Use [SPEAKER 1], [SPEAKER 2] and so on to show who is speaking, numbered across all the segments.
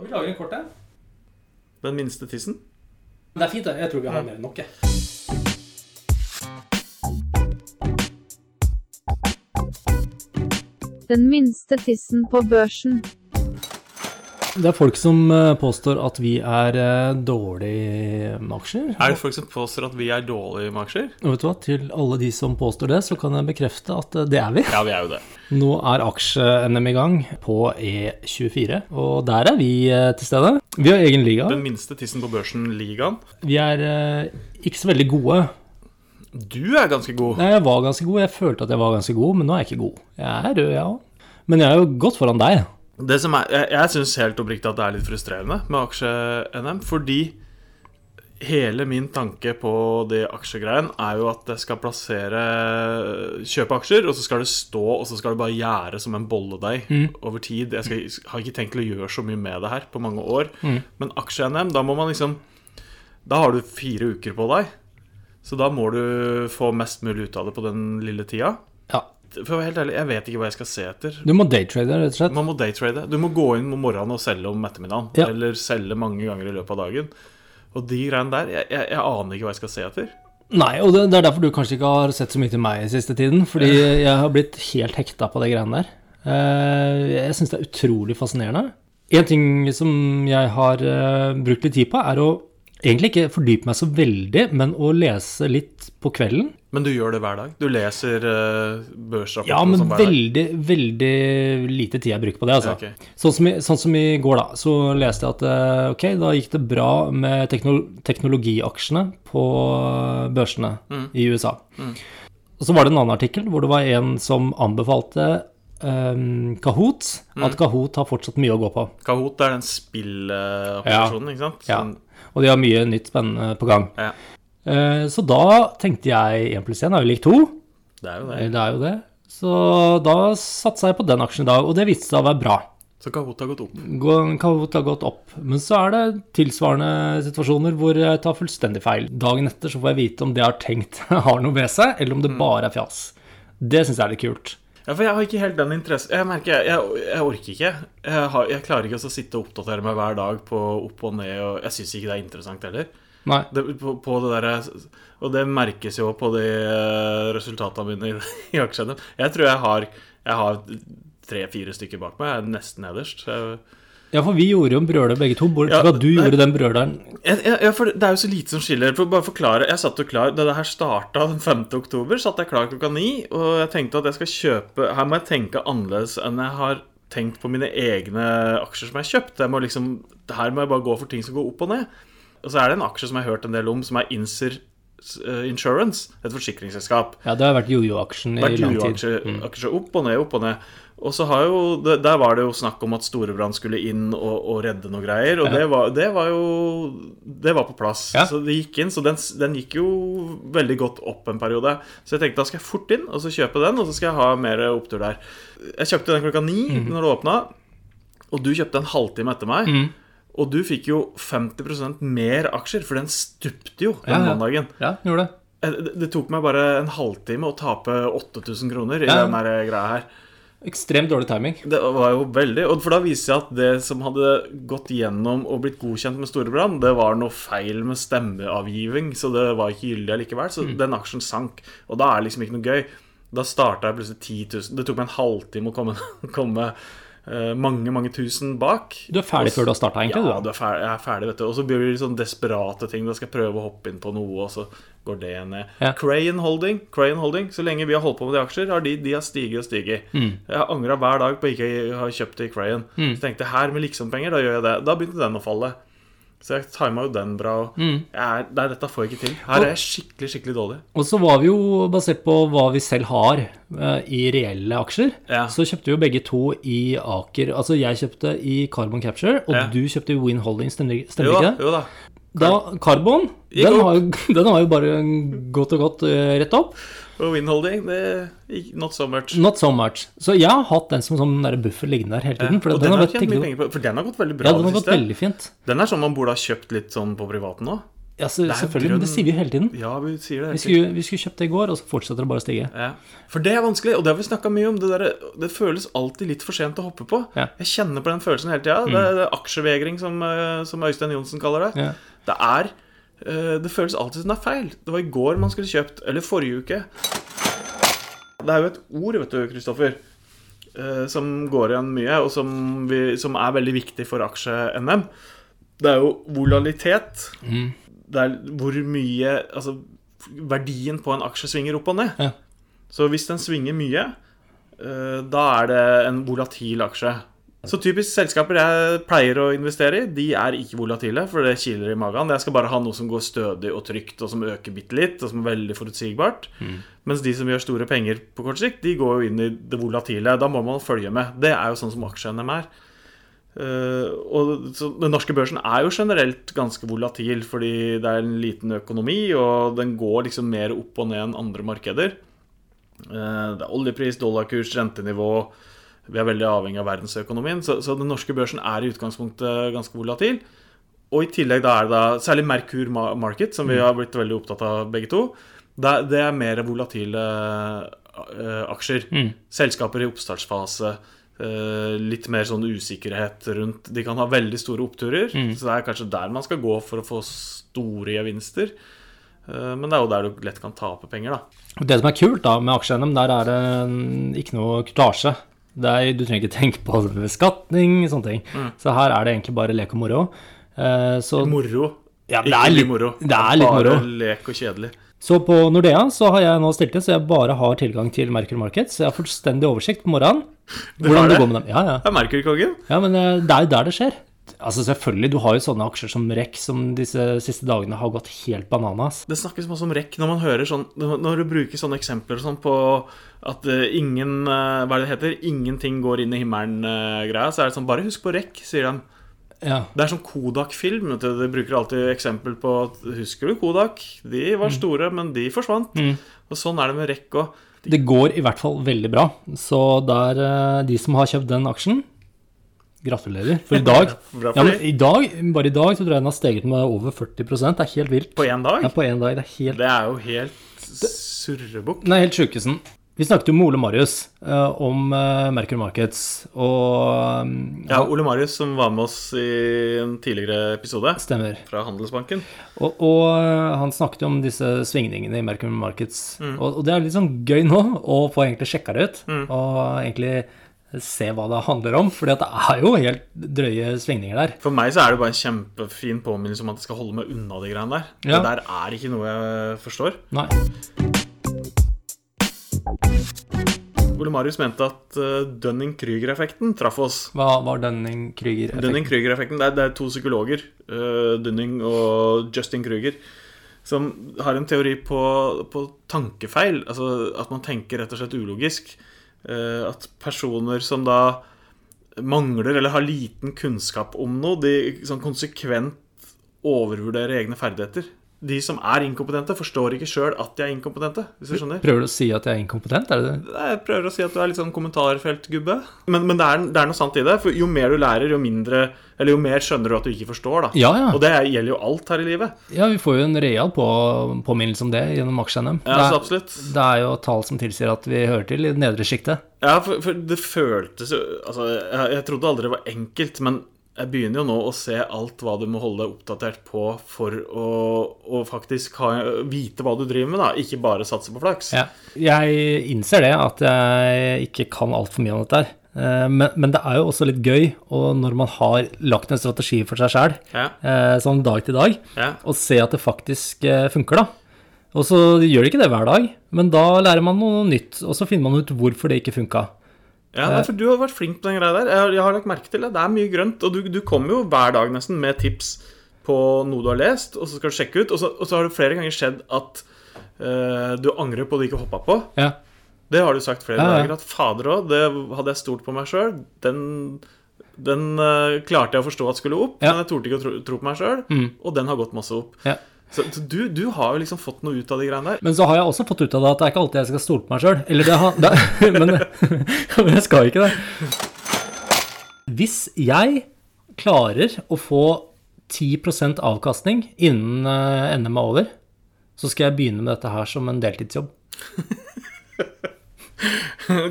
[SPEAKER 1] Vi lager en kort en.
[SPEAKER 2] Den minste tissen?
[SPEAKER 1] Men Det er fint, det. Jeg tror vi har mer enn nok. jeg.
[SPEAKER 3] Den minste tissen på børsen.
[SPEAKER 4] Det er folk som eh, påstår at vi er eh, dårlige med aksjer.
[SPEAKER 2] Er det folk som påstår at vi er dårlige med aksjer?
[SPEAKER 4] Og vet du hva, til alle de som påstår det, så kan jeg bekrefte at eh, det er vi.
[SPEAKER 2] Ja, vi er jo det.
[SPEAKER 4] Nå er aksje-NM i gang på E24, og der er vi eh, til stede. Vi har egen liga.
[SPEAKER 2] Den minste tissen på børsen, ligaen.
[SPEAKER 4] Vi er eh, ikke så veldig gode.
[SPEAKER 2] Du er ganske god.
[SPEAKER 4] Nei, jeg var ganske god, jeg følte at jeg var ganske god, men nå er jeg ikke god. Jeg er rød, jeg òg. Men jeg er jo godt foran deg.
[SPEAKER 2] Det som er, jeg jeg syns helt oppriktig at det er litt frustrerende med aksje-NM, fordi hele min tanke på det aksjegreien er jo at jeg skal plassere Kjøpe aksjer, og så skal det stå, og så skal det bare gjære som en bolledeig over tid. Jeg skal, har ikke tenkt til å gjøre så mye med det her på mange år. Men aksje-NM, da må man liksom Da har du fire uker på deg. Så da må du få mest mulig ut av det på den lille tida.
[SPEAKER 4] Ja.
[SPEAKER 2] For å være helt ærlig, jeg vet ikke hva jeg skal se etter.
[SPEAKER 4] Du må daytrade, rett og slett.
[SPEAKER 2] Man må daytrade. Du må gå inn om morgenen og selge om ettermiddagen.
[SPEAKER 4] Ja.
[SPEAKER 2] Eller selge mange ganger i løpet av dagen. Og de greiene der jeg, jeg, jeg aner ikke hva jeg skal se etter.
[SPEAKER 4] Nei, og det, det er derfor du kanskje ikke har sett så mye til meg i siste tiden. Fordi jeg har blitt helt hekta på de greiene der. Eh, Jeg syns det er utrolig fascinerende. En ting som jeg har eh, brukt litt tid på, er å egentlig ikke fordype meg så veldig, men å lese litt på kvelden.
[SPEAKER 2] Men du gjør det hver dag. Du leser uh, børsrapporter
[SPEAKER 4] Ja,
[SPEAKER 2] og
[SPEAKER 4] men
[SPEAKER 2] sånn hver dag.
[SPEAKER 4] veldig, veldig lite tid jeg bruker på det, altså.
[SPEAKER 2] Ja, ok.
[SPEAKER 4] Sånn, som i, sånn som i går, da, så leste jeg at eh, ok, da gikk det bra med tekno teknologiaksjene på eh, børsene
[SPEAKER 2] Mm.
[SPEAKER 4] i USA. Og så var det en annen artikkel hvor det var en som anbefalte eh, Kahoot,
[SPEAKER 2] Mm.
[SPEAKER 4] at Kahoot har fortsatt mye å gå på.
[SPEAKER 2] Kahoot det er den spillapplikkasjonen, ikke sant?
[SPEAKER 4] Ja.
[SPEAKER 2] Sånn-
[SPEAKER 4] Og de har mye nytt spennende på gang.
[SPEAKER 2] ja.
[SPEAKER 4] Eh, så da tenkte jeg 1 pluss 1 er jo lik 2.
[SPEAKER 2] Det er jo
[SPEAKER 4] Eh,
[SPEAKER 2] det.
[SPEAKER 4] Det er jo det. Så da satsa jeg på den aksjen i dag, og det viste seg å være bra.
[SPEAKER 2] Så Kahoot har gått opp.
[SPEAKER 4] Gå- Kahoot har gått opp. Men så er det tilsvarende situasjoner hvor jeg tar fullstendig feil. Dagen etter så får jeg vite om det jeg har tenkt har noe ved seg, eller
[SPEAKER 2] Mm.
[SPEAKER 4] om det bare er fjas. Det syns jeg er litt kult.
[SPEAKER 2] Ja, for jeg har ikke helt den interessen Jeg merker, jeg, jeg orker ikke. Jeg, har, jeg klarer ikke å sitte og oppdatere meg hver dag på opp og ned, og jeg syns ikke det er interessant heller.
[SPEAKER 4] Nei.
[SPEAKER 2] det, på, på det der, og det merkes jo på de eh, resultatene mine i, i aksjene. Jeg tror jeg har, jeg har tre-fire stykker bak meg. Jeg er nesten nederst. Jeg,
[SPEAKER 4] Ja, for vi gjorde jo en brøler begge to, bortsett
[SPEAKER 2] Ja,
[SPEAKER 4] fra at du
[SPEAKER 2] nei.
[SPEAKER 4] gjorde den brøleren.
[SPEAKER 2] jeg, jeg, for det er jo så lite som skiller. For å bare forklare, Jeg satt jo klar da det her starta den 5. oktober, satt jeg klar klokka ni. Og jeg tenkte at jeg skal kjøpe Her må jeg tenke annerledes enn jeg har tenkt på mine egne aksjer som jeg har kjøpt. Jeg må liksom, her må jeg bare gå for ting som går opp og ned. Og så er det en aksje som jeg har hørt en del om, som er Inser eh, Insurance, et forsikringsselskap.
[SPEAKER 4] Ja, det har vært jojo-aksjen i
[SPEAKER 2] vært
[SPEAKER 4] lang tid. Mm.
[SPEAKER 2] uaksjer aksjer opp og ned, opp og ned. Og så har jo, det- Der var det jo snakk om at Storebrand skulle inn og, og redde noe greier. Og det, var, det var jo Det var på plass.
[SPEAKER 4] Ja.
[SPEAKER 2] Så det gikk inn, så den, s- den gikk jo veldig godt opp en periode. Så jeg tenkte da skal jeg fort inn og så kjøpe den, og så skal jeg ha mer opptur der. Jeg kjøpte den klokka ni
[SPEAKER 4] Mhm.
[SPEAKER 2] når det åpna, og du kjøpte en halvtime etter meg. Og du fikk jo 50 mer aksjer, for den stupte jo den
[SPEAKER 4] Ja, ja.
[SPEAKER 2] mandagen.
[SPEAKER 4] Ja, gjorde det.
[SPEAKER 2] Eh, Det det tok meg bare en halvtime å tape 8000 kroner i
[SPEAKER 4] Ja.
[SPEAKER 2] den der eh, greia her.
[SPEAKER 4] Ekstremt dårlig timing.
[SPEAKER 2] Det var jo veldig og For da viser jeg at det som hadde gått gjennom og blitt godkjent med Storebrand, det var noe feil med stemmeavgiving, så det var ikke gyldig allikevel. Så
[SPEAKER 4] Mm.
[SPEAKER 2] den aksjen sank. Og da er det liksom ikke noe gøy. Da starta jeg plutselig 10 000 Det tok meg en halvtime å komme, komme eh, mange, mange tusen bak.
[SPEAKER 4] Du er ferdig
[SPEAKER 2] Og s-
[SPEAKER 4] før du har starta, egentlig.
[SPEAKER 2] ja, du er ferdig, jeg er ferdig, vet du. Og så blir det sånn desperate ting. Da skal jeg prøve å hoppe inn på noe, og så går det ned.
[SPEAKER 4] Ja.
[SPEAKER 2] Crayon Holding, Crayon Holding, så lenge vi har holdt på med de aksjer, har de, de har stiget og stiget. Jeg har angra hver dag på ikke å ha kjøpt det i Crayon. Så tenkte jeg her med liksompenger, da gjør jeg det. Da begynte den å falle. Så jeg tima jo den bra. Og jeg er, nei, dette får jeg ikke til. Her er jeg skikkelig, skikkelig dårlig.
[SPEAKER 4] Og så var vi jo, basert på hva vi selv har eh, i reelle aksjer,
[SPEAKER 2] Ja.
[SPEAKER 4] så kjøpte vi jo begge to i Aker. Altså jeg kjøpte i Carbon Capture, og
[SPEAKER 2] Ja.
[SPEAKER 4] du kjøpte i Win Holdings, stemmer, stemmer
[SPEAKER 2] Jo da,
[SPEAKER 4] ikke det?
[SPEAKER 2] jo da.
[SPEAKER 4] Da, Carbon,
[SPEAKER 2] Gikk
[SPEAKER 4] den
[SPEAKER 2] opp.
[SPEAKER 4] har, jo, den har jo bare gått og gått eh, rett opp.
[SPEAKER 2] Og Win Holding, det gikk not so much.
[SPEAKER 4] Not so much. Så jeg har hatt den som sånn der buffer liggende der hele tiden. For
[SPEAKER 2] og Mm, den, har
[SPEAKER 4] vært-
[SPEAKER 2] tjent mye
[SPEAKER 4] tenkte-
[SPEAKER 2] penger på, for den har gått veldig bra
[SPEAKER 4] Ja, den
[SPEAKER 2] det
[SPEAKER 4] har gått
[SPEAKER 2] siste.
[SPEAKER 4] veldig fint.
[SPEAKER 2] Den er sånn man burde ha kjøpt litt sånn på privaten nå.
[SPEAKER 4] Ja, så,
[SPEAKER 2] er jo
[SPEAKER 4] selvfølgelig, men det
[SPEAKER 2] grunnen-
[SPEAKER 4] sier vi jo hele tiden.
[SPEAKER 2] Ja, vi sier det.
[SPEAKER 4] Vi
[SPEAKER 2] hele
[SPEAKER 4] skulle, vi skulle kjøpt det i går, og så fortsetter det bare å stige.
[SPEAKER 2] Ja. For det er vanskelig, og det har vi snakka mye om. Det, der, det føles alltid litt for sent å hoppe på.
[SPEAKER 4] Ja. Mm.
[SPEAKER 2] Jeg kjenner på den følelsen hele tida. Det er det er aksjevegring, som, eh, som Øystein Johnsen kaller det.
[SPEAKER 4] Ja.
[SPEAKER 2] Det er eh, Det føles alltid som det er feil. Det var i går man skulle kjøpt, eller forrige uke. Det er jo et ord, vet du, Kristoffer, eh, som går igjen mye, og som, vi, som er veldig viktig for aksje-NM. Det er jo volalitet. Det er hvor mye Altså, verdien på en aksje svinger opp og ned.
[SPEAKER 4] Ja.
[SPEAKER 2] Så hvis den svinger mye, eh, da er det en volatil aksje. Så typisk selskaper jeg pleier å investere i, de er ikke volatile, for det kiler i magen. Jeg skal bare ha noe som går stødig og trygt, og som øker bitte litt, og som er veldig forutsigbart. Mens de som gjør store penger på kort sikt, de går jo inn i det volatile. Da må man følge med. Det er jo sånn som aksje-NM er. Eh, og så, Den norske børsen er jo generelt ganske volatil, fordi det er en liten økonomi, og den går liksom mer opp og ned enn andre markeder. Eh, Det er oljepris, dollarkurs, rentenivå Vi er veldig avhengig av verdensøkonomien. Så, så den norske børsen er i utgangspunktet ganske volatil. Og i tillegg da er det da særlig Merkur Ma- Market, som vi har blitt veldig opptatt av begge to. Det, er- det er mer volatile eh, aksjer. Selskaper i oppstartsfase. eh, litt mer sånn usikkerhet rundt De kan ha veldig store oppturer, så det er kanskje der man skal gå for å få store gevinster. Eh, men det er jo der du lett kan tape penger, da.
[SPEAKER 4] Og Det som er kult da med aksje-NM, der er det mm, ikke noe kurtasje. Det er, du trenger ikke tenke på beskatning og sånne ting.
[SPEAKER 2] Mm.
[SPEAKER 4] Så her er det egentlig bare lek og moro. Eh, så,
[SPEAKER 2] Moro.
[SPEAKER 4] Ja, men det
[SPEAKER 2] Ikke
[SPEAKER 4] er litt-
[SPEAKER 2] mye moro.
[SPEAKER 4] det er litt
[SPEAKER 2] bare
[SPEAKER 4] moro.
[SPEAKER 2] lek og kjedelig.
[SPEAKER 4] så på Nordea så har jeg nå stilt det, så jeg bare har tilgang til Merkur Market. Så jeg har fullstendig oversikt på morgenen.
[SPEAKER 2] har
[SPEAKER 4] Hvordan det
[SPEAKER 2] det?
[SPEAKER 4] går med dem. Ja, ja.
[SPEAKER 2] Det er Merkur-kongen.
[SPEAKER 4] ja, men eh, det er jo der det skjer. Altså Selvfølgelig, du har jo sånne aksjer som REC som disse siste dagene har gått helt bananas.
[SPEAKER 2] Det snakkes masse om rekk når man hører sånn Når du bruker sånne eksempler og sånn på at eh, ingen eh, Hva er det det heter? Ingenting går inn i himmelen-greia. Så er det sånn Bare husk på rekk, sier de.
[SPEAKER 4] Ja.
[SPEAKER 2] Det er sånn Kodak-film. vet du, De bruker alltid eksempel på at, Husker du Kodak? De
[SPEAKER 4] Mm.
[SPEAKER 2] var store, men de forsvant. Og sånn er det med rekk òg.
[SPEAKER 4] Det går i hvert fall veldig bra. Så der, eh, de som har kjøpt den aksjen, gratulerer. For i dag,
[SPEAKER 2] Bra for
[SPEAKER 4] ja, men
[SPEAKER 2] de.
[SPEAKER 4] i dag bare i dag, så tror jeg den har steget med over 40 Det er helt vilt.
[SPEAKER 2] På én dag.
[SPEAKER 4] Ja, på én dag. Det er helt
[SPEAKER 2] Det er jo helt surrebukk.
[SPEAKER 4] Nei, helt sjukesen. Vi snakket jo med Ole Marius eh, om eh, Merkur Markets, og mm,
[SPEAKER 2] Ja, Ole Marius som var med oss i en tidligere episode
[SPEAKER 4] Stemmer.
[SPEAKER 2] fra Handelsbanken.
[SPEAKER 4] Og, og eh, han snakket jo om disse svingningene i Mercury Markets.
[SPEAKER 2] Mm.
[SPEAKER 4] Og, og det er litt sånn gøy nå å få egentlig sjekka det ut. Og egentlig se hva det handler om. For det er jo helt drøye svingninger der.
[SPEAKER 2] For meg så er det bare en kjempefin påminnelse om at jeg skal holde meg unna de greiene der.
[SPEAKER 4] Ja.
[SPEAKER 2] Det der er ikke noe jeg forstår.
[SPEAKER 4] Nei.
[SPEAKER 2] Ole Marius mente at eh, Dunning-Krüger-effekten traff oss.
[SPEAKER 4] Hva var Dunning-Krüger?
[SPEAKER 2] Dunning-Krüger-effekten, det, er- det er to psykologer, eh, Dunning og Justin Krüger, som har en teori på, på tankefeil. Altså at man tenker rett og slett ulogisk. Eh, at personer som da mangler eller har liten kunnskap om noe, de sånn konsekvent overvurderer egne ferdigheter. De som er inkompetente, forstår ikke sjøl at de er inkompetente. hvis du skjønner
[SPEAKER 4] Prøver du å si at jeg er inkompetent? Er det det?
[SPEAKER 2] jeg prøver å si at du er litt sånn kommentarfeltgubbe. Men, men det, er, det er noe sant i det. For jo mer du lærer, jo mindre Eller jo mer skjønner du at du ikke forstår, da.
[SPEAKER 4] Ja, ja.
[SPEAKER 2] Og det gjelder jo alt her i livet.
[SPEAKER 4] Ja, vi får jo en real på, påminnelse om det gjennom aksje-NM.
[SPEAKER 2] Ja,
[SPEAKER 4] det,
[SPEAKER 2] så
[SPEAKER 4] er-
[SPEAKER 2] absolutt.
[SPEAKER 4] det er jo tall som tilsier at vi hører til i det nedre sjiktet.
[SPEAKER 2] Ja, for, for det føltes jo Altså, jeg, jeg trodde aldri det var enkelt, men jeg begynner jo nå å se alt hva du må holde deg oppdatert på for å, å faktisk ha, vite hva du driver med, da. Ikke bare satse på flaks.
[SPEAKER 4] Ja. Jeg innser det, at jeg ikke kan altfor mye om dette her. Eh, Men, men det er jo også litt gøy og når man har lagt en strategi for seg sjæl,
[SPEAKER 2] Ja.
[SPEAKER 4] sånn dag til dag,
[SPEAKER 2] Ja.
[SPEAKER 4] og se at det faktisk eh, funker, da. Og så gjør det ikke det hver dag, men da lærer man noe nytt, og så finner man ut hvorfor det ikke funka.
[SPEAKER 2] Ja,
[SPEAKER 4] Eh.
[SPEAKER 2] nei, for Du har vært flink på den greia der. Jeg har, jeg har lagt merke til det. Det er mye grønt. Og du, du kommer jo hver dag nesten med tips på noe du har lest, og så skal du sjekke ut. Og så, og så har det flere ganger skjedd at eh, du angrer på det du ikke hoppa på.
[SPEAKER 4] Ja.
[SPEAKER 2] Det har du sagt flere
[SPEAKER 4] Ja, ja.
[SPEAKER 2] dager. At fader òg, det hadde jeg stolt på meg sjøl. Den, den eh, klarte jeg å forstå at skulle opp,
[SPEAKER 4] Ja. Mm.
[SPEAKER 2] men jeg torde ikke å tro, tro på meg sjøl. Og den har gått masse opp.
[SPEAKER 4] ja.
[SPEAKER 2] Så så du, du har jo liksom fått noe ut av de greiene der.
[SPEAKER 4] Men så har jeg også fått ut av det at det er ikke alltid jeg skal stole på meg sjøl. Eller det har det, men, men jeg skal ikke det. Hvis jeg klarer å få 10 avkastning innen eh, NM er over, så skal jeg begynne med dette her som en deltidsjobb.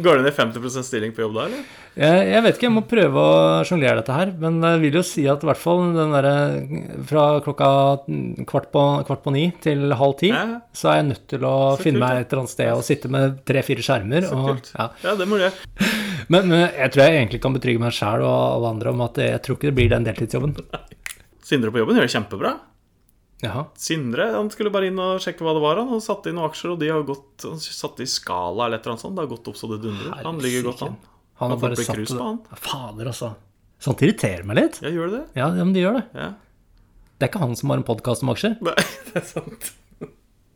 [SPEAKER 2] Går det ned 50 stilling på jobb da, eller?
[SPEAKER 4] Jeg, jeg vet ikke, jeg må prøve å sjonglere dette her, men jeg vil jo si at i hvert fall den derre fra klokka kvart på, kvart på ni til halv ti,
[SPEAKER 2] Ja, ja.
[SPEAKER 4] så er jeg nødt til å
[SPEAKER 2] Så
[SPEAKER 4] finne
[SPEAKER 2] kult,
[SPEAKER 4] meg
[SPEAKER 2] da.
[SPEAKER 4] et eller annet sted og sitte med tre-fire skjermer.
[SPEAKER 2] Så
[SPEAKER 4] og,
[SPEAKER 2] kult.
[SPEAKER 4] ja.
[SPEAKER 2] Ja, det må du gjøre.
[SPEAKER 4] men, men jeg tror jeg egentlig kan betrygge meg sjæl og alle andre om at jeg tror ikke det blir den deltidsjobben.
[SPEAKER 2] Sindre på jobben gjør det kjempebra.
[SPEAKER 4] Jaha.
[SPEAKER 2] Sindre han skulle bare inn og sjekke hva det var. Han Han satte inn noen aksjer, og de har gått han satte i skala eller et eller annet sånt. Det har gått opp så det dundrer. Han ligger godt an.
[SPEAKER 4] Han har
[SPEAKER 2] Han får
[SPEAKER 4] bare
[SPEAKER 2] bli
[SPEAKER 4] satt
[SPEAKER 2] krus
[SPEAKER 4] det
[SPEAKER 2] på han.
[SPEAKER 4] Ja, Fader, altså. Sånt irriterer meg litt.
[SPEAKER 2] Ja, gjør det det?
[SPEAKER 4] Ja, ja, men de gjør det.
[SPEAKER 2] Ja.
[SPEAKER 4] Det er ikke han som har en podkast om aksjer.
[SPEAKER 2] Nei, det er sant.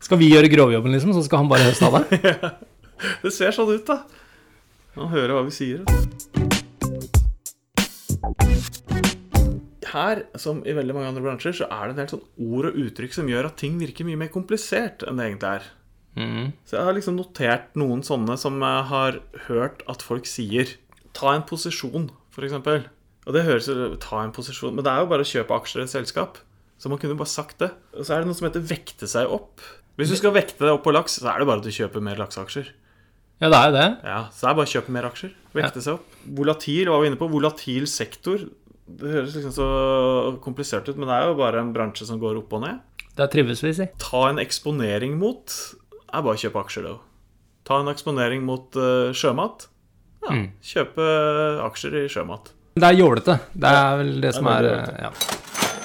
[SPEAKER 4] Skal vi gjøre grovjobben, liksom, så skal han bare høste av det?
[SPEAKER 2] Det ser sånn ut, da. Han hører hva vi sier. Her, som i veldig mange andre bransjer, så er det en del sånn ord og uttrykk som gjør at ting virker mye mer komplisert enn det egentlig er. Så jeg har liksom notert noen sånne som jeg har hørt at folk sier. Ta en posisjon, f.eks. Og det høres jo Ta en posisjon Men det er jo bare å kjøpe aksjer i et selskap. Så man kunne jo bare sagt det. Og så er det noe som heter vekte seg opp. Hvis du skal vekte deg opp på laks, så er det bare at du kjøper mer lakseaksjer.
[SPEAKER 4] Ja, det er jo det.
[SPEAKER 2] Ja, så det er bare å kjøpe mer aksjer. Vekte seg opp. Volatil var vi inne på. Volatil sektor. Det høres liksom så komplisert ut, men det er jo bare en bransje som går opp og ned.
[SPEAKER 4] Det trives vi, si.
[SPEAKER 2] Ta en eksponering mot er bare å kjøpe aksjer, da. Ta en eksponering mot eh, sjømat. Ja,
[SPEAKER 4] Mm.
[SPEAKER 2] kjøpe eh, aksjer i sjømat.
[SPEAKER 4] Det er jålete. Det er vel det som
[SPEAKER 2] det
[SPEAKER 4] er
[SPEAKER 2] er
[SPEAKER 4] eh,
[SPEAKER 2] jålete.
[SPEAKER 4] ja.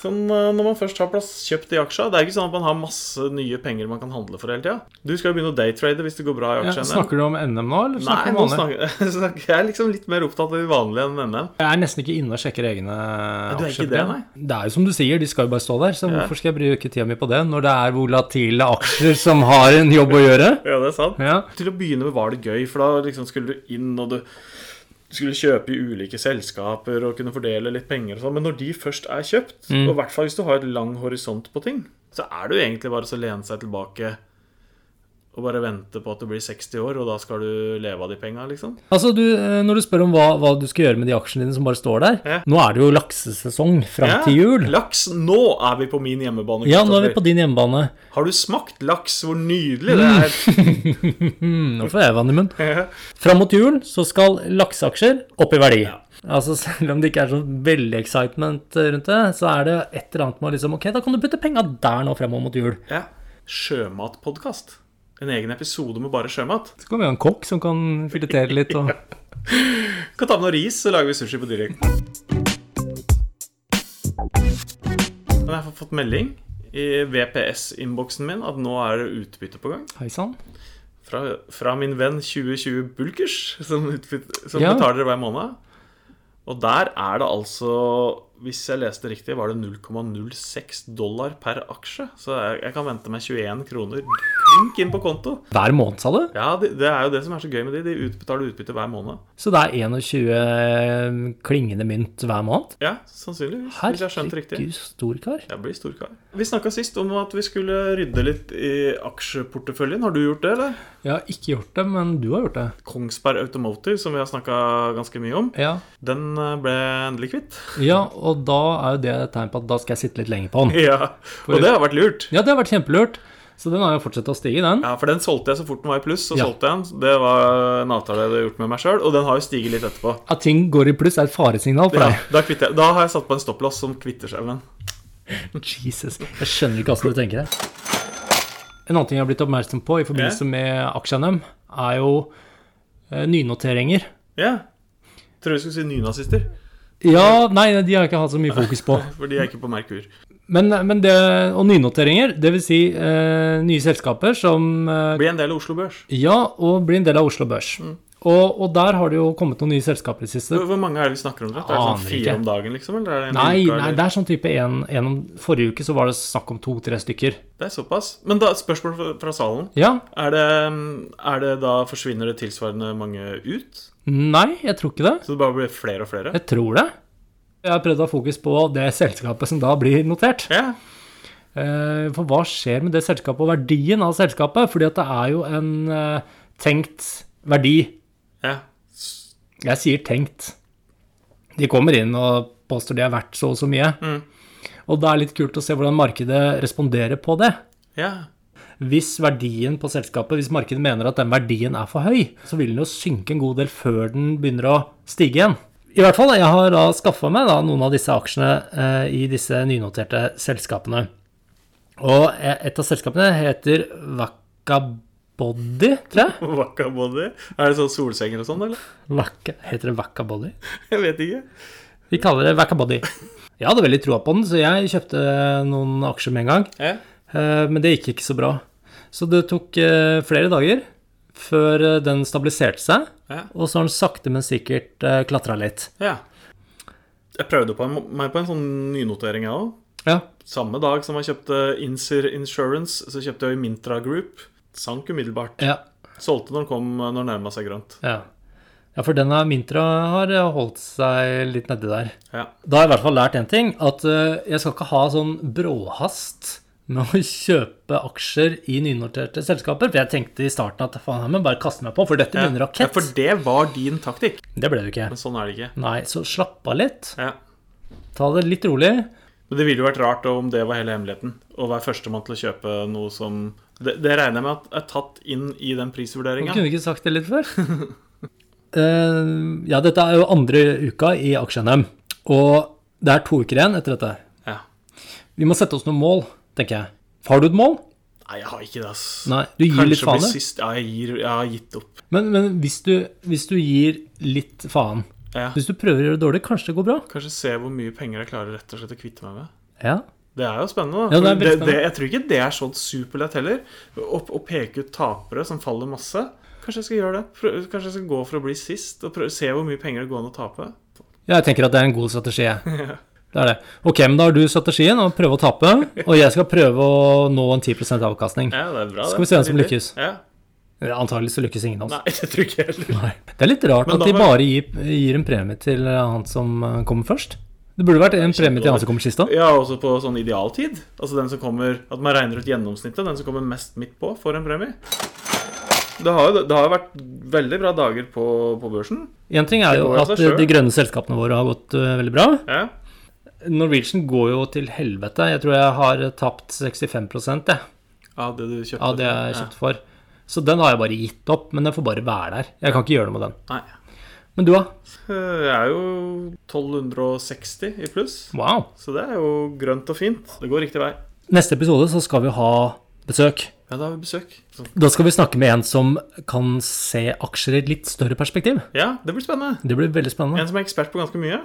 [SPEAKER 2] Sånn, eh, når man først har plass, kjøpt de aksjene. Det er ikke sånn at man har masse nye penger man kan handle for hele tida. Du skal jo begynne å daytrade hvis det går bra i
[SPEAKER 4] ja.
[SPEAKER 2] aksjene.
[SPEAKER 4] Snakker du om NM nå, eller
[SPEAKER 2] Nei,
[SPEAKER 4] snakker du
[SPEAKER 2] nå
[SPEAKER 4] om vanlig?
[SPEAKER 2] snakker snakker- jeg er liksom litt mer opptatt av de vanlige enn NM.
[SPEAKER 4] Jeg er nesten ikke inne og sjekker egne
[SPEAKER 2] du er ikke
[SPEAKER 4] aksjer.
[SPEAKER 2] det, nei?
[SPEAKER 4] det er jo som du sier, de skal jo bare stå der, så hvorfor skal jeg bruke tida mi på det når det er volatile aksjer som har en jobb å gjøre?
[SPEAKER 2] Ja, det er sant.
[SPEAKER 4] Ja.
[SPEAKER 2] Til å begynne med var det gøy, for da liksom skulle du inn og du du skulle kjøpe i ulike selskaper og kunne fordele litt penger og sånn, men når de først er kjøpt,
[SPEAKER 4] Mm.
[SPEAKER 2] og i hvert fall hvis du har et lang horisont på ting, så er det jo egentlig bare så å lene seg tilbake og bare vente på at du blir 60 år, og da skal du leve av de penga, liksom.
[SPEAKER 4] Altså, du, eh, Når du spør om hva, hva du skal gjøre med de aksjene dine som bare står der
[SPEAKER 2] Ja.
[SPEAKER 4] Nå er det jo laksesesong fram
[SPEAKER 2] Ja,
[SPEAKER 4] til jul.
[SPEAKER 2] Laks! Nå er vi på min hjemmebane.
[SPEAKER 4] Ja, nå er vi
[SPEAKER 2] Kristoffer.
[SPEAKER 4] på din hjemmebane.
[SPEAKER 2] Har du smakt laks? Hvor nydelig det er!
[SPEAKER 4] Nå får jeg vann i munnen. Fram mot jul så skal lakseaksjer opp i verdi. Altså Selv om det ikke er så veldig excitement eh, rundt det, så er det et eller annet med å liksom Ok, da kan du putte penga der nå fremover mot jul.
[SPEAKER 2] ja. Sjømatpodkast. En egen episode med bare sjømat.
[SPEAKER 4] Så kommer jo en kokk som kan filetere litt og
[SPEAKER 2] kan ta med noe ris, så lager vi sushi på direkten. Men jeg har fått melding i VPS-innboksen min at nå er det utbytte på gang.
[SPEAKER 4] Hei sann.
[SPEAKER 2] Fra, fra min venn 2020 Bulkers, som, utbytte, som
[SPEAKER 4] Ja.
[SPEAKER 2] betaler hver måned. Og der er det altså, hvis jeg leste riktig, var det 0,06 dollar per aksje. Så jeg, jeg kan vente meg 21 kroner klink inn på konto.
[SPEAKER 4] Hver måned, sa du?
[SPEAKER 2] Ja, det, det er jo det som er så gøy med de. De utbetaler utbytte hver måned.
[SPEAKER 4] Så det er 21 klingende mynt hver måned?
[SPEAKER 2] Ja, sannsynligvis. hvis jeg har skjønt det riktig.
[SPEAKER 4] Herregud, stor kar.
[SPEAKER 2] Jeg blir storkar. Vi snakka sist om at vi skulle rydde litt i aksjeporteføljen. Har du gjort det, eller?
[SPEAKER 4] Jeg har ikke gjort det, men du har gjort det.
[SPEAKER 2] Kongsberg Automotive, som vi har snakka ganske mye om,
[SPEAKER 4] Ja,
[SPEAKER 2] den eh, ble endelig kvitt.
[SPEAKER 4] ja og da er jo det et tegn på at da skal jeg sitte litt lenger på den.
[SPEAKER 2] Ja, Og det har vært lurt.
[SPEAKER 4] Ja, det har vært kjempelurt. Så den har jo fortsatt å stige, den.
[SPEAKER 2] Ja, For den solgte jeg så fort den var i pluss. Så
[SPEAKER 4] Ja.
[SPEAKER 2] solgte jeg den Det var en avtale jeg hadde gjort med meg sjøl, og den har jo stiget litt etterpå.
[SPEAKER 4] At ting går i pluss, er et faresignal for
[SPEAKER 2] Ja,
[SPEAKER 4] deg.
[SPEAKER 2] da, kvitter jeg. da har jeg satt på en stopplås som kvitter seg med den.
[SPEAKER 4] Jesus. Jeg skjønner ikke hvordan du tenker det. En annen ting jeg har blitt oppmerksom på i forbindelse med aksje-NM, er jo eh, nynoteringer.
[SPEAKER 2] Ja. Tror jeg skulle si nynazister,
[SPEAKER 4] Ja, nei, de har jeg ikke hatt så mye fokus på.
[SPEAKER 2] for de er ikke på Merkur.
[SPEAKER 4] Men, men det, og nynoteringer, dvs. Si, eh, nye selskaper som eh,
[SPEAKER 2] Bli en del av Oslo Børs.
[SPEAKER 4] Ja, og blir en del av Oslo Børs. Og, og der har det jo kommet noen nye selskaper i det siste.
[SPEAKER 2] Hvor hvor mange er det vi snakker om? Rett? Er det sånn
[SPEAKER 4] Aner
[SPEAKER 2] fire
[SPEAKER 4] ikke.
[SPEAKER 2] om dagen, liksom? Eller er det en
[SPEAKER 4] Nei,
[SPEAKER 2] uke,
[SPEAKER 4] nei,
[SPEAKER 2] eller?
[SPEAKER 4] det er sånn type en, en om Forrige uke så var det snakk om to-tre stykker.
[SPEAKER 2] Det er såpass. Men da, spørsmål fra- fra salen.
[SPEAKER 4] Ja,
[SPEAKER 2] Er det, mm, er det da forsvinner det tilsvarende mange ut?
[SPEAKER 4] Nei, jeg tror ikke det.
[SPEAKER 2] Så det bare blir flere og flere?
[SPEAKER 4] Jeg tror det. Jeg har prøvd å ha fokus på det selskapet som da blir notert.
[SPEAKER 2] Ja.
[SPEAKER 4] Eh, For hva skjer med det selskapet og verdien av selskapet? Fordi at det er jo en eh, tenkt verdi.
[SPEAKER 2] ja.
[SPEAKER 4] Jeg sier tenkt. De kommer inn og påstår de er verdt så og så mye.
[SPEAKER 2] Mm.
[SPEAKER 4] Og det er litt kult å se hvordan markedet responderer på det.
[SPEAKER 2] Ja.
[SPEAKER 4] Hvis verdien på selskapet, hvis markedet mener at den verdien er for høy, så vil den jo synke en god del før den begynner å stige igjen. I hvert fall, jeg har da skaffa meg da noen av disse aksjene eh, i disse nynoterte selskapene. Og et av selskapene heter Vakkabody, tror jeg.
[SPEAKER 2] Wakabody. Er det sånn solsenger og sånn, eller?
[SPEAKER 4] Vakka, heter det Vakkabody?
[SPEAKER 2] Jeg vet ikke.
[SPEAKER 4] Vi kaller det Vakkabody. Jeg hadde veldig troa på den, så jeg kjøpte noen aksjer med en gang.
[SPEAKER 2] Ja.
[SPEAKER 4] Eh, Men det gikk ikke så bra. Så det tok eh, flere dager før eh, den stabiliserte seg,
[SPEAKER 2] Ja.
[SPEAKER 4] og så har den sakte, men sikkert klatra litt.
[SPEAKER 2] ja. Jeg prøvde på en, meg på en sånn nynotering, jeg òg.
[SPEAKER 4] Ja.
[SPEAKER 2] Samme dag som jeg kjøpte Insir Insurance, så kjøpte jeg Mintra Group. Sank umiddelbart.
[SPEAKER 4] ja,
[SPEAKER 2] Solgte når den kom når den nærma seg grønt.
[SPEAKER 4] ja. Ja, for denne Mintra har eh, holdt seg litt nedi der.
[SPEAKER 2] Ja.
[SPEAKER 4] Da har jeg i hvert fall lært én ting, at eh, jeg skal ikke ha sånn bråhast med å kjøpe aksjer i nynoterte selskaper. For jeg tenkte i starten at faen, jeg må bare kaste meg på, for dette blir en
[SPEAKER 2] Ja,
[SPEAKER 4] rakett.
[SPEAKER 2] for det var din taktikk.
[SPEAKER 4] Det ble det jo ikke.
[SPEAKER 2] Men sånn er det ikke.
[SPEAKER 4] Nei, så slapp av litt.
[SPEAKER 2] Ja.
[SPEAKER 4] Ta det litt rolig.
[SPEAKER 2] Men det ville jo vært rart om det var hele hemmeligheten. Å være førstemann til å kjøpe noe som Det, det regner jeg med at er tatt inn i den prisvurderinga.
[SPEAKER 4] Kunne vi ikke sagt det litt før? Eh, ja, dette er jo andre uka i Aksje-NM, og det er to uker igjen etter dette.
[SPEAKER 2] Ja.
[SPEAKER 4] Vi må sette oss noen mål, tenker jeg. Har du et mål?
[SPEAKER 2] Nei, jeg har ikke det, ass.
[SPEAKER 4] Nei, du gir litt
[SPEAKER 2] Kanskje
[SPEAKER 4] faen.
[SPEAKER 2] bli
[SPEAKER 4] i.
[SPEAKER 2] sist. Ja, jeg, gir, jeg har gitt opp.
[SPEAKER 4] Men, men hvis, du, hvis du gir litt faen,
[SPEAKER 2] Ja.
[SPEAKER 4] hvis du prøver å gjøre det dårlig, kanskje det går bra?
[SPEAKER 2] Kanskje se hvor mye penger jeg klarer rett og slett å kvitte meg med.
[SPEAKER 4] Ja.
[SPEAKER 2] Det er jo spennende.
[SPEAKER 4] Ja,
[SPEAKER 2] da.
[SPEAKER 4] det er
[SPEAKER 2] For det,
[SPEAKER 4] veldig
[SPEAKER 2] det, jeg tror ikke det er sånn superlett heller. Å, å peke ut tapere som faller masse. Kanskje jeg skal gjøre det. Prø- Kanskje jeg skal gå for å bli sist og prøve, se hvor mye penger det går an å tape.
[SPEAKER 4] ja, jeg tenker at det er en god strategi, jeg. Det er det. Ok, men da har du strategien å prøve å tape, og jeg skal prøve å nå en 10 avkastning.
[SPEAKER 2] Ja, det er bra, det.
[SPEAKER 4] Skal vi se hvem som
[SPEAKER 2] Nydelig.
[SPEAKER 4] lykkes.
[SPEAKER 2] Ja.
[SPEAKER 4] Antagelig så lykkes ingen av oss.
[SPEAKER 2] Nei, det tror ikke jeg heller.
[SPEAKER 4] Nei. Det er litt rart
[SPEAKER 2] Men
[SPEAKER 4] at
[SPEAKER 2] da
[SPEAKER 4] de
[SPEAKER 2] må-
[SPEAKER 4] bare gir, gir en premie til eh, han som eh, kommer først. Det burde vært en premie til han som kommer sist òg.
[SPEAKER 2] Ja, også på sånn idealtid. Altså den som kommer At man regner ut gjennomsnittet. Den som kommer mest midt på, får en premie. Det har jo det har jo vært veldig bra dager på, på børsen.
[SPEAKER 4] Én ting er
[SPEAKER 2] Det
[SPEAKER 4] jo
[SPEAKER 2] går jo
[SPEAKER 4] at
[SPEAKER 2] seg
[SPEAKER 4] eh,
[SPEAKER 2] selv.
[SPEAKER 4] de grønne selskapene våre har gått eh, veldig bra.
[SPEAKER 2] Ja.
[SPEAKER 4] Norwegian går jo til helvete. Jeg tror jeg har eh, tapt 65 jeg,
[SPEAKER 2] Av det du kjøpte.
[SPEAKER 4] av det jeg kjøpte for. Så den har jeg bare gitt opp, men den får bare være der. Jeg kan ikke gjøre noe med den.
[SPEAKER 2] Ja. Nei. Eh,
[SPEAKER 4] Men du, da?
[SPEAKER 2] Jeg er jo 1260 i pluss.
[SPEAKER 4] Wow.
[SPEAKER 2] Så det er jo grønt og fint. Det går riktig vei.
[SPEAKER 4] Neste episode så skal vi ha besøk.
[SPEAKER 2] Ja, da har vi besøk. Så,
[SPEAKER 4] Da skal vi snakke med en som kan se aksjer i et litt større perspektiv.
[SPEAKER 2] ja, det blir spennende.
[SPEAKER 4] Det blir veldig spennende.
[SPEAKER 2] En som er ekspert på ganske mye.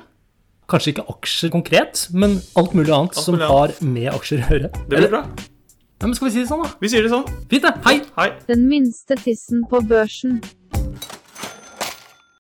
[SPEAKER 4] Kanskje ikke aksjer konkret, men alt mulig annet
[SPEAKER 2] Alt
[SPEAKER 4] som
[SPEAKER 2] mulig
[SPEAKER 4] har med aksjer å gjøre.
[SPEAKER 2] Det blir bra.
[SPEAKER 4] Nei, men skal vi si det sånn, da?
[SPEAKER 2] Vi sier det sånn.
[SPEAKER 4] Fint, det. Hei!
[SPEAKER 2] Hei.
[SPEAKER 3] Den minste tissen på børsen.